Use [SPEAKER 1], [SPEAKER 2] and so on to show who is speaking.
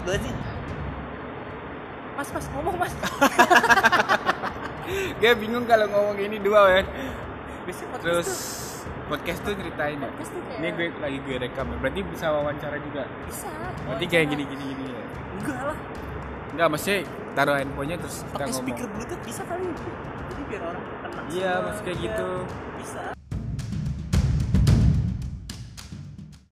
[SPEAKER 1] gue sih
[SPEAKER 2] Mas, mas, ngomong mas.
[SPEAKER 3] Gue bingung kalau ngomong ini dua men
[SPEAKER 2] Biasanya podcast
[SPEAKER 3] Terus
[SPEAKER 2] tuh
[SPEAKER 3] podcast tuh ceritain ya
[SPEAKER 2] Podcast tuh kayak- Oh,
[SPEAKER 3] Ini gue lagi gue rekam ya. Berarti bisa wawancara juga
[SPEAKER 2] bisa.
[SPEAKER 3] Berarti kayak
[SPEAKER 2] iya.
[SPEAKER 3] gini gini gini ya
[SPEAKER 2] Enggak lah.
[SPEAKER 3] Enggak maksudnya taruh handphonenya terus kita
[SPEAKER 1] pakai
[SPEAKER 3] ngomong
[SPEAKER 1] speaker bluetooth bisa kali jadi biar orang tenang
[SPEAKER 3] Iya
[SPEAKER 1] semua.
[SPEAKER 3] maksudnya
[SPEAKER 1] Iya,
[SPEAKER 3] gitu
[SPEAKER 1] bisa